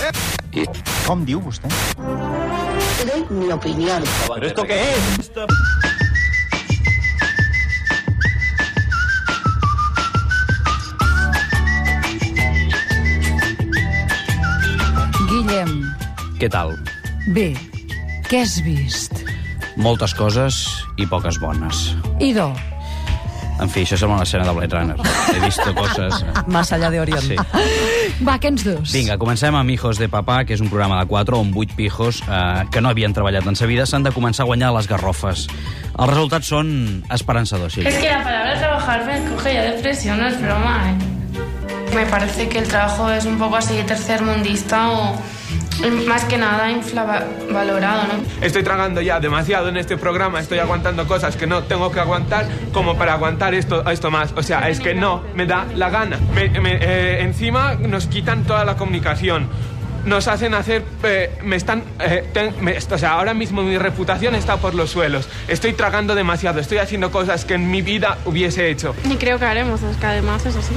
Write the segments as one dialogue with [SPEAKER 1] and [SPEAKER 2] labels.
[SPEAKER 1] I com diu vostè?
[SPEAKER 2] doy mi opinión.
[SPEAKER 3] ¿Pero esto qué es?
[SPEAKER 4] Guillem,
[SPEAKER 3] Què tal?
[SPEAKER 4] bé, què has vist?
[SPEAKER 3] Moltes coses i poques bones.
[SPEAKER 4] Idò,
[SPEAKER 3] En fi, això sembla una escena de Blade Runner. He vist coses...
[SPEAKER 5] Más allá de Orión.
[SPEAKER 3] Sí.
[SPEAKER 4] Ah, va, que ens dus?
[SPEAKER 3] Vinga, comencem amb Hijos de Papà, que és un programa de 4 on 8 pijos eh, que no havien treballat en sa vida s'han de començar a guanyar les garrofes. Els resultats són esperançadors, sí.
[SPEAKER 6] Es que la palabra trabajar me coge ya depresión, no es broma. ¿eh? Me parece que el trabajo es un poco así tercermundista o mm, más que nada infravalorado, ¿no?
[SPEAKER 7] Estoy tragando ya demasiado en este programa, estoy aguantando cosas que no tengo que aguantar como para aguantar esto, esto más. O sea, es que no, me da la gana. Me- me, eh, encima nos quitan toda la comunicación. Nos hacen hacer... eh, me están... eh, ten- me- o sea, ahora mismo mi reputación está por los suelos. Estoy tragando demasiado, estoy haciendo cosas que en mi vida hubiese hecho.
[SPEAKER 6] Ni creo que haremos, es que además es así.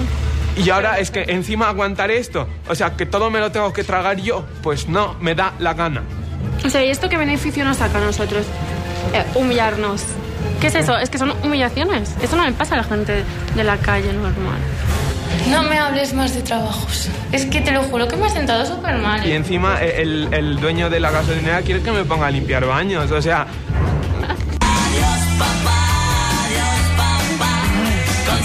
[SPEAKER 7] Y ahora es que encima aguantar esto. O sea, que todo me lo tengo que tragar yo. Pues no, me da la gana.
[SPEAKER 6] O sea, ¿y esto qué beneficio nos saca a nosotros? Eh, humillarnos. ¿Qué es eso? Es que son humillaciones. Eso no le pasa a la gente de la calle normal. No me hables más de trabajos. Es que te lo juro que me has sentado súper mal.
[SPEAKER 7] Y encima eh, el, el dueño de la gasolinera quiere que me ponga a limpiar baños. O sea,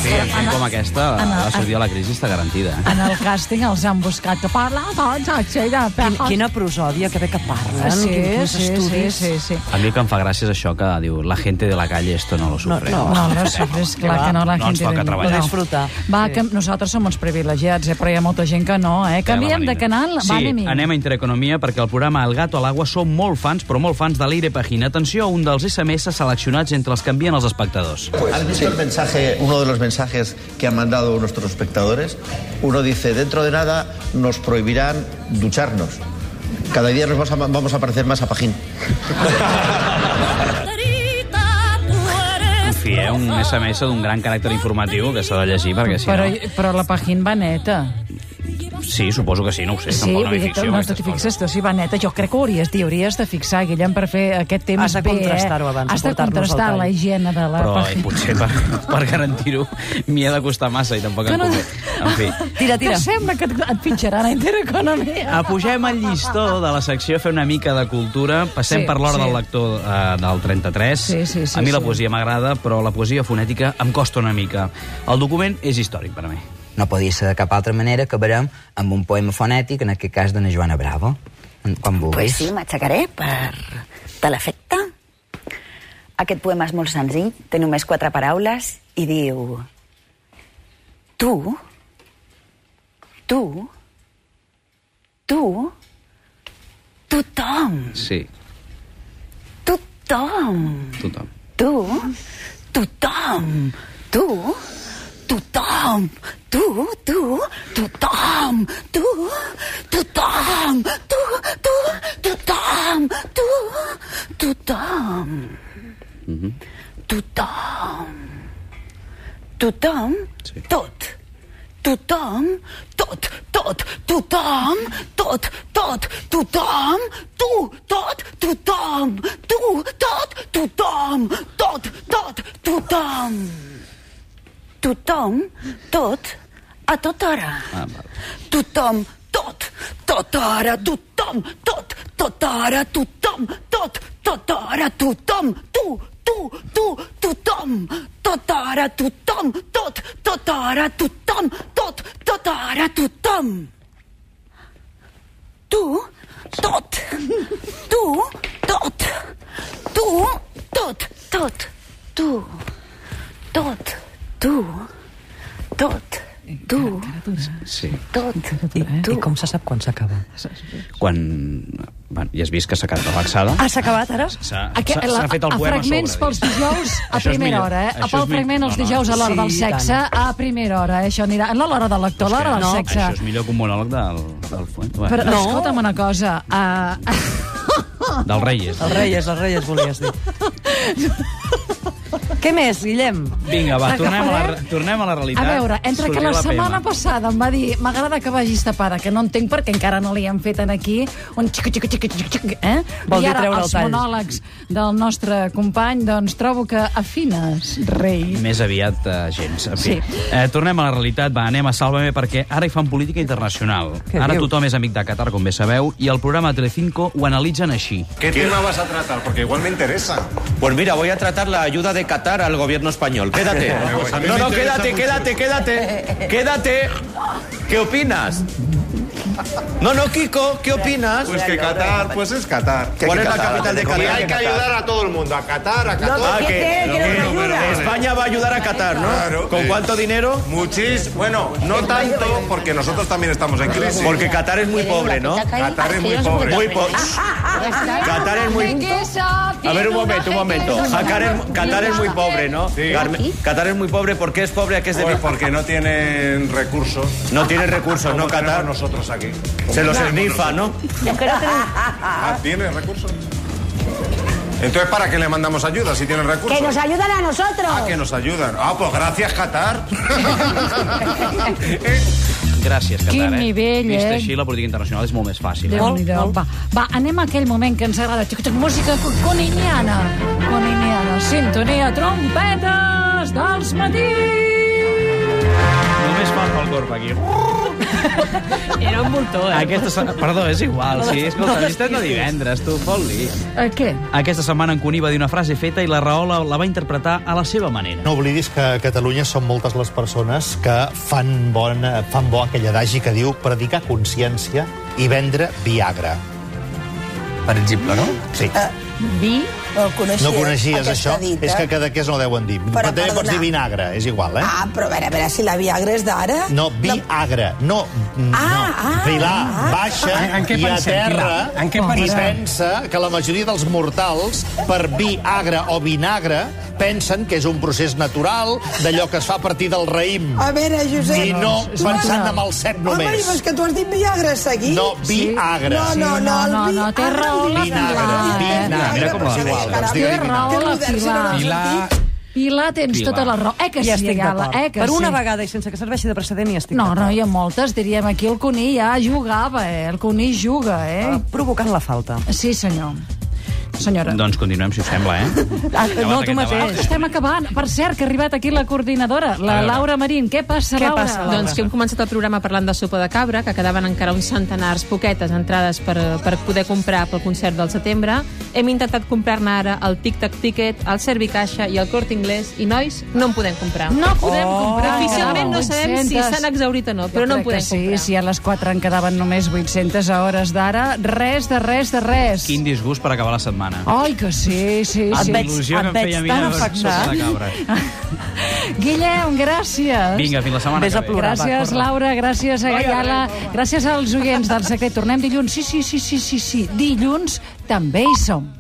[SPEAKER 3] Sí, com aquesta, la sortida de la crisi està garantida. Eh?
[SPEAKER 4] En el càsting els han buscat que parla, doncs, així de
[SPEAKER 5] Quin,
[SPEAKER 4] pejos.
[SPEAKER 5] quina prosòdia, que bé que parlen,
[SPEAKER 4] Sí,
[SPEAKER 5] quin, quins
[SPEAKER 4] sí, sí,
[SPEAKER 5] estudis.
[SPEAKER 4] sí, sí.
[SPEAKER 3] A mi el que em fa gràcia és això que diu la gente de la calle esto no lo sufre.
[SPEAKER 5] No,
[SPEAKER 4] No, no, sí, és clar que no la
[SPEAKER 3] No
[SPEAKER 4] gent...
[SPEAKER 3] ens toca
[SPEAKER 4] de-
[SPEAKER 3] treballar.
[SPEAKER 4] no.
[SPEAKER 5] Disfrutar.
[SPEAKER 4] Va,
[SPEAKER 5] Sí.
[SPEAKER 4] que nosaltres som uns privilegiats, eh, però hi ha molta gent que no, eh? Canviem de canal,
[SPEAKER 3] Sí,
[SPEAKER 4] va, anem-hi.
[SPEAKER 3] anem a Intereconomia perquè el programa El Gato a l'Agua som molt fans, però molt fans de l'Eire Pagina. Atenció a un dels SMS seleccionats entre els que envien els espectadors.
[SPEAKER 8] ¿Has visto el mensaje, uno de los mensajes que han mandado nuestros espectadores? Uno dice, dentro de nada nos prohibirán ducharnos. Cada día nos vas a- vamos a parecer más a Pajín.
[SPEAKER 3] En fi, eh, un SMS d'un gran caràcter informatiu que s'ha de llegir, perquè si
[SPEAKER 4] Però,
[SPEAKER 3] no...
[SPEAKER 4] però la pàgina va neta.
[SPEAKER 3] Sí, suposo que sí, no ho sé,
[SPEAKER 4] Sí,
[SPEAKER 3] tampoc no eh.
[SPEAKER 4] vull
[SPEAKER 3] hi
[SPEAKER 4] dir,
[SPEAKER 3] ficció.
[SPEAKER 4] no, tu
[SPEAKER 3] aquestes
[SPEAKER 4] t'hi
[SPEAKER 3] coses.
[SPEAKER 4] fixes, tu, sí, va neta. Jo crec que ho hauries, t'hi hauries de fixar, Guillem, per fer aquest temps
[SPEAKER 5] Has de
[SPEAKER 4] bé, eh?
[SPEAKER 5] contrastar-ho abans de
[SPEAKER 4] Has de
[SPEAKER 5] portar-nos al
[SPEAKER 4] contrastar
[SPEAKER 5] tall.
[SPEAKER 4] la higiene de la
[SPEAKER 3] Però eh,
[SPEAKER 4] pàgina.
[SPEAKER 3] potser per, per garantir-ho m'hi ha de costar massa i tampoc em
[SPEAKER 4] no-
[SPEAKER 3] convé. En fi.
[SPEAKER 5] Tira, tira.
[SPEAKER 4] Que sembla que et, et pitjaran a Intereconomia.
[SPEAKER 3] Apugem el llistó de la secció a fer una mica de cultura. Passem
[SPEAKER 4] Sí,
[SPEAKER 3] sí, per l'hora
[SPEAKER 4] sí.
[SPEAKER 3] sí. del lector eh, del 33.
[SPEAKER 4] Sí, sí, sí,
[SPEAKER 3] a mi la
[SPEAKER 4] sí.
[SPEAKER 3] poesia m'agrada, però la poesia fonètica em costa una mica. El document és històric per a mi.
[SPEAKER 9] No podia ser de cap altra manera, acabarem amb un poema fonètic, en aquest cas d'una Joana Bravo. Quan vulguis.
[SPEAKER 10] Pues sí, m'aixecaré per... de l'efecte. Aquest poema és molt senzill, té només quatre paraules i diu... Tu, tu, tu, tothom,
[SPEAKER 3] Sí,
[SPEAKER 10] tothom,
[SPEAKER 3] tothom.
[SPEAKER 10] tu, tothom, tu, tothom, tu, tu, tothom, tu, tothom, tu, tu, tothom, tu, tothom. Tothom. Tothom,
[SPEAKER 3] Sí.
[SPEAKER 10] tot. Tothom, tot, tot. Tothom, tot, tot. Tothom, tu, tot, tothom. Tu, tot, tothom. Tot, tot, tothom. Tothom, tot, a tota hora.
[SPEAKER 3] Ah, val.
[SPEAKER 10] Tothom, tot, tota hora, tothom, tot, tota hora, tothom, tot, tota hora, tothom, tu, tu, tu, tothom, tota hora, tothom, tot, tota hora, tothom, tot, tota hora, tothom. Tu, tot, tu, tot, tu, tot, tot, tu, tot, tu, tot, tu,
[SPEAKER 3] Sí.
[SPEAKER 10] tot,
[SPEAKER 5] I,
[SPEAKER 4] Eh?
[SPEAKER 10] tu.
[SPEAKER 5] I com se sap quan s'acaba?
[SPEAKER 3] Quan... Bueno, ja has vist que s'ha quedat relaxada.
[SPEAKER 5] Ah, s'ha acabat ara?
[SPEAKER 3] S'ha
[SPEAKER 4] Aquest-
[SPEAKER 3] s'ha-
[SPEAKER 4] la-
[SPEAKER 3] s'ha fet el
[SPEAKER 4] a
[SPEAKER 3] poema
[SPEAKER 4] fragments
[SPEAKER 3] sobre,
[SPEAKER 4] pels dijous
[SPEAKER 3] Això
[SPEAKER 4] a
[SPEAKER 3] és
[SPEAKER 4] primera
[SPEAKER 3] millor.
[SPEAKER 4] hora, eh?
[SPEAKER 3] Això és
[SPEAKER 4] Pel
[SPEAKER 3] millor.
[SPEAKER 4] fragment els
[SPEAKER 3] No, no.
[SPEAKER 4] dijous a l'hora
[SPEAKER 5] Sí,
[SPEAKER 4] del
[SPEAKER 5] i tant.
[SPEAKER 4] sexe a primera hora, eh? Això anirà... No, a l'hora de lector, a l'hora del
[SPEAKER 3] no.
[SPEAKER 4] sexe.
[SPEAKER 3] Això és millor que un monòleg del, del, Fuent- bueno,
[SPEAKER 4] Però, no.
[SPEAKER 5] No.
[SPEAKER 4] escolta'm una cosa, uh,
[SPEAKER 3] del Reyes.
[SPEAKER 5] Els reies, els reies volies dir. Què més, Guillem?
[SPEAKER 3] Vinga, va, tornem a, la,
[SPEAKER 4] Agafarem-
[SPEAKER 3] tornem a la
[SPEAKER 4] A
[SPEAKER 3] realitat.
[SPEAKER 4] veure, entre que
[SPEAKER 3] Sortir
[SPEAKER 4] la
[SPEAKER 3] PM.
[SPEAKER 4] setmana passada em va dir m'agrada que vagis tapada, que no entenc perquè encara no li han fet en aquí un xic, xic, xic, xic, xic, eh?
[SPEAKER 5] Vol
[SPEAKER 4] I
[SPEAKER 5] dir
[SPEAKER 4] ara
[SPEAKER 5] treure el
[SPEAKER 4] els
[SPEAKER 5] tall.
[SPEAKER 4] monòlegs del nostre company, doncs trobo que afines, rei.
[SPEAKER 3] Més aviat eh, gens. En fi.
[SPEAKER 4] Sí.
[SPEAKER 3] eh, tornem a la realitat, va, anem a Sálvame, perquè ara hi fan política internacional.
[SPEAKER 5] Què
[SPEAKER 3] ara
[SPEAKER 5] dius?
[SPEAKER 3] tothom és amic de Qatar, com bé sabeu, i el programa Telecinco ho analitzen així.
[SPEAKER 11] ¿Qué tema vas a tratar? Porque igual me interesa.
[SPEAKER 12] Pues mira, voy a tratar la ayuda de Qatar al gobierno español. Quédate.
[SPEAKER 11] Pues a mí
[SPEAKER 12] No,
[SPEAKER 11] me
[SPEAKER 12] no,
[SPEAKER 11] interesa
[SPEAKER 12] quédate,
[SPEAKER 11] mucho.
[SPEAKER 12] quédate, quédate. Quédate. ¿Qué opinas? No, no, Kiko, ¿qué opinas?
[SPEAKER 11] Pues que Qatar, pues es Qatar.
[SPEAKER 12] ¿Cuál es la capital de
[SPEAKER 11] Y hay
[SPEAKER 12] Qatar?
[SPEAKER 11] que ayudar a todo el mundo, a Qatar, a Qatar.
[SPEAKER 12] Ah, que- España va a ayudar a Qatar, ¿no?
[SPEAKER 11] Claro.
[SPEAKER 12] ¿Con cuánto dinero?
[SPEAKER 11] Muchis, bueno, no tanto, porque nosotros también estamos en crisis.
[SPEAKER 12] Porque Qatar es muy pobre, ¿no?
[SPEAKER 13] Ah,
[SPEAKER 11] Qatar es muy pobre.
[SPEAKER 12] Muy pobre. Qatar es muy... A ver, un momento, un momento. Qatar es, Qatar es muy pobre, ¿no?
[SPEAKER 11] Sí.
[SPEAKER 12] Carmen, Qatar es muy pobre. ¿Por qué es pobre? ¿A qué es
[SPEAKER 11] Pues
[SPEAKER 12] debido?
[SPEAKER 11] porque no tienen recursos.
[SPEAKER 12] No tiene recursos,
[SPEAKER 11] como
[SPEAKER 12] ¿no,
[SPEAKER 11] tenemos
[SPEAKER 12] Qatar?
[SPEAKER 11] nosotros aquí.
[SPEAKER 12] Se los esnifa, ¿no?
[SPEAKER 11] Ah, ¿Tiene recursos? Entonces, ¿para qué le mandamos ayuda si tienen recursos?
[SPEAKER 10] Que nos ayudan a nosotros.
[SPEAKER 11] Ah, que nos ayudan. Ah, pues gracias, Qatar.
[SPEAKER 3] Gràcies, Qatar.
[SPEAKER 4] Quin
[SPEAKER 3] eh?
[SPEAKER 4] nivell,
[SPEAKER 3] Vist
[SPEAKER 4] eh?
[SPEAKER 3] així, la política internacional és molt més fàcil. Eh?
[SPEAKER 4] Déu-n'hi-do. Va, va, anem a aquell moment que ens agrada. Xic, xic, música co- coniniana. Coniniana. Sintonia, trompetes dels matins.
[SPEAKER 3] Només fa el corp aquí.
[SPEAKER 5] Era un eh? voltó,
[SPEAKER 3] Aquesta se... Perdó, és igual. Sí, escolta, no estem de divendres, tu, fot-li.
[SPEAKER 4] Eh, què?
[SPEAKER 3] Aquesta setmana en Cuní va dir una frase feta i la Rahola la va interpretar a la seva manera.
[SPEAKER 13] No oblidis que a Catalunya són moltes les persones que fan, bon, eh, fan bo aquell adagi que diu predicar consciència i vendre Viagra.
[SPEAKER 9] Per exemple, no?
[SPEAKER 13] Sí.
[SPEAKER 4] Vi?
[SPEAKER 14] No el coneixies,
[SPEAKER 13] no coneixies
[SPEAKER 14] aquesta
[SPEAKER 13] això?
[SPEAKER 14] Dita.
[SPEAKER 13] És que cadaqués no ho deuen dir.
[SPEAKER 14] Però,
[SPEAKER 13] Però, també pots
[SPEAKER 14] perdona.
[SPEAKER 13] dir vinagre, és igual, eh?
[SPEAKER 14] Ah, però a veure, a veure si la Viagra és d'ara...
[SPEAKER 13] No, Viagra, no, no.
[SPEAKER 14] ah,
[SPEAKER 13] Pilar,
[SPEAKER 14] ah.
[SPEAKER 13] baixa
[SPEAKER 14] En- en què
[SPEAKER 13] i Oh,
[SPEAKER 14] pensem,
[SPEAKER 13] aterra
[SPEAKER 14] Pilar? En què
[SPEAKER 13] i
[SPEAKER 14] pensem?
[SPEAKER 13] pensa que la majoria dels mortals, per Viagra o vinagre, pensen que és un procés natural d'allò que es fa a partir del raïm.
[SPEAKER 14] A veure, Josep...
[SPEAKER 13] I no
[SPEAKER 14] tu m'has-
[SPEAKER 13] pensant en el set
[SPEAKER 14] Home,
[SPEAKER 13] només.
[SPEAKER 14] però és que tu has dit Viagra seguit.
[SPEAKER 13] No, Viagra.
[SPEAKER 14] No, no, no, el
[SPEAKER 4] No, no, no, té
[SPEAKER 13] Ah,
[SPEAKER 14] Viagra,
[SPEAKER 4] raó la
[SPEAKER 13] Vinagre,
[SPEAKER 4] Pilar, eh?
[SPEAKER 13] vinagre.
[SPEAKER 3] Mira com la
[SPEAKER 13] però és igual,
[SPEAKER 3] deixa.
[SPEAKER 13] doncs
[SPEAKER 4] Té
[SPEAKER 13] digue-li vinagre.
[SPEAKER 4] raó la
[SPEAKER 14] Que moderns
[SPEAKER 4] Pilar.
[SPEAKER 14] eren els
[SPEAKER 3] Pilar,
[SPEAKER 4] Pilar, tens
[SPEAKER 3] Pilar.
[SPEAKER 4] tota la raó. Eh que
[SPEAKER 5] I
[SPEAKER 4] sí,
[SPEAKER 5] estic
[SPEAKER 4] Ayala,
[SPEAKER 5] d'acord.
[SPEAKER 4] eh que
[SPEAKER 5] per una
[SPEAKER 4] sí.
[SPEAKER 5] vegada i sense que serveixi de precedent hi estic
[SPEAKER 4] No, no,
[SPEAKER 5] d'acord.
[SPEAKER 4] hi ha moltes. Diríem aquí el Cuní ja jugava, eh? El Cuní juga, eh?
[SPEAKER 5] Ah, Provocant la falta.
[SPEAKER 4] Sí, senyor. Senyora.
[SPEAKER 3] Doncs continuem, si us sembla, eh?
[SPEAKER 5] Ah, no, tu
[SPEAKER 3] aquest
[SPEAKER 5] mateix.
[SPEAKER 3] debat.
[SPEAKER 4] Estem acabant. Per cert, que ha arribat aquí la coordinadora, la
[SPEAKER 3] veure.
[SPEAKER 4] Laura Marín. Què passa,
[SPEAKER 5] Què
[SPEAKER 4] Laura?
[SPEAKER 5] passa, Laura?
[SPEAKER 15] Doncs que hem començat el programa parlant de sopa de cabra, que quedaven encara uns centenars, poquetes, entrades per, per poder comprar pel concert del setembre. Hem intentat comprar-ne ara el Tic Tac Ticket, el Servicaixa i el Corte Inglés, i nois, no en podem comprar.
[SPEAKER 4] No podem comprar.
[SPEAKER 15] Oficialment no sabem si
[SPEAKER 4] 800.
[SPEAKER 15] s'han exhaurit o no, però
[SPEAKER 4] Jo
[SPEAKER 15] no
[SPEAKER 4] crec que
[SPEAKER 15] en podem
[SPEAKER 4] sí,
[SPEAKER 15] comprar.
[SPEAKER 4] si a les 4 en quedaven només 800 a hores d'ara, res de res de res.
[SPEAKER 3] Quin Ah, disgust per acabar la setmana.
[SPEAKER 4] Ai, que sí, sí,
[SPEAKER 5] Ah, Et
[SPEAKER 4] sí.
[SPEAKER 5] veig-
[SPEAKER 3] Il·lusió
[SPEAKER 5] et
[SPEAKER 3] que em feia
[SPEAKER 5] veig
[SPEAKER 3] a mi
[SPEAKER 5] tan
[SPEAKER 3] de sopa
[SPEAKER 5] afectat. Ah.
[SPEAKER 3] de cabra.
[SPEAKER 4] Guillem, gràcies.
[SPEAKER 3] Vinga, fins la setmana
[SPEAKER 5] Vés
[SPEAKER 3] que
[SPEAKER 5] a
[SPEAKER 3] ve.
[SPEAKER 5] plorar, va,
[SPEAKER 4] Gràcies,
[SPEAKER 5] corre.
[SPEAKER 4] Laura, gràcies a Gaiala, gràcies als oients del secret. Tornem dilluns, sí, sí, sí, sí, sí, sí. Dilluns també hi som.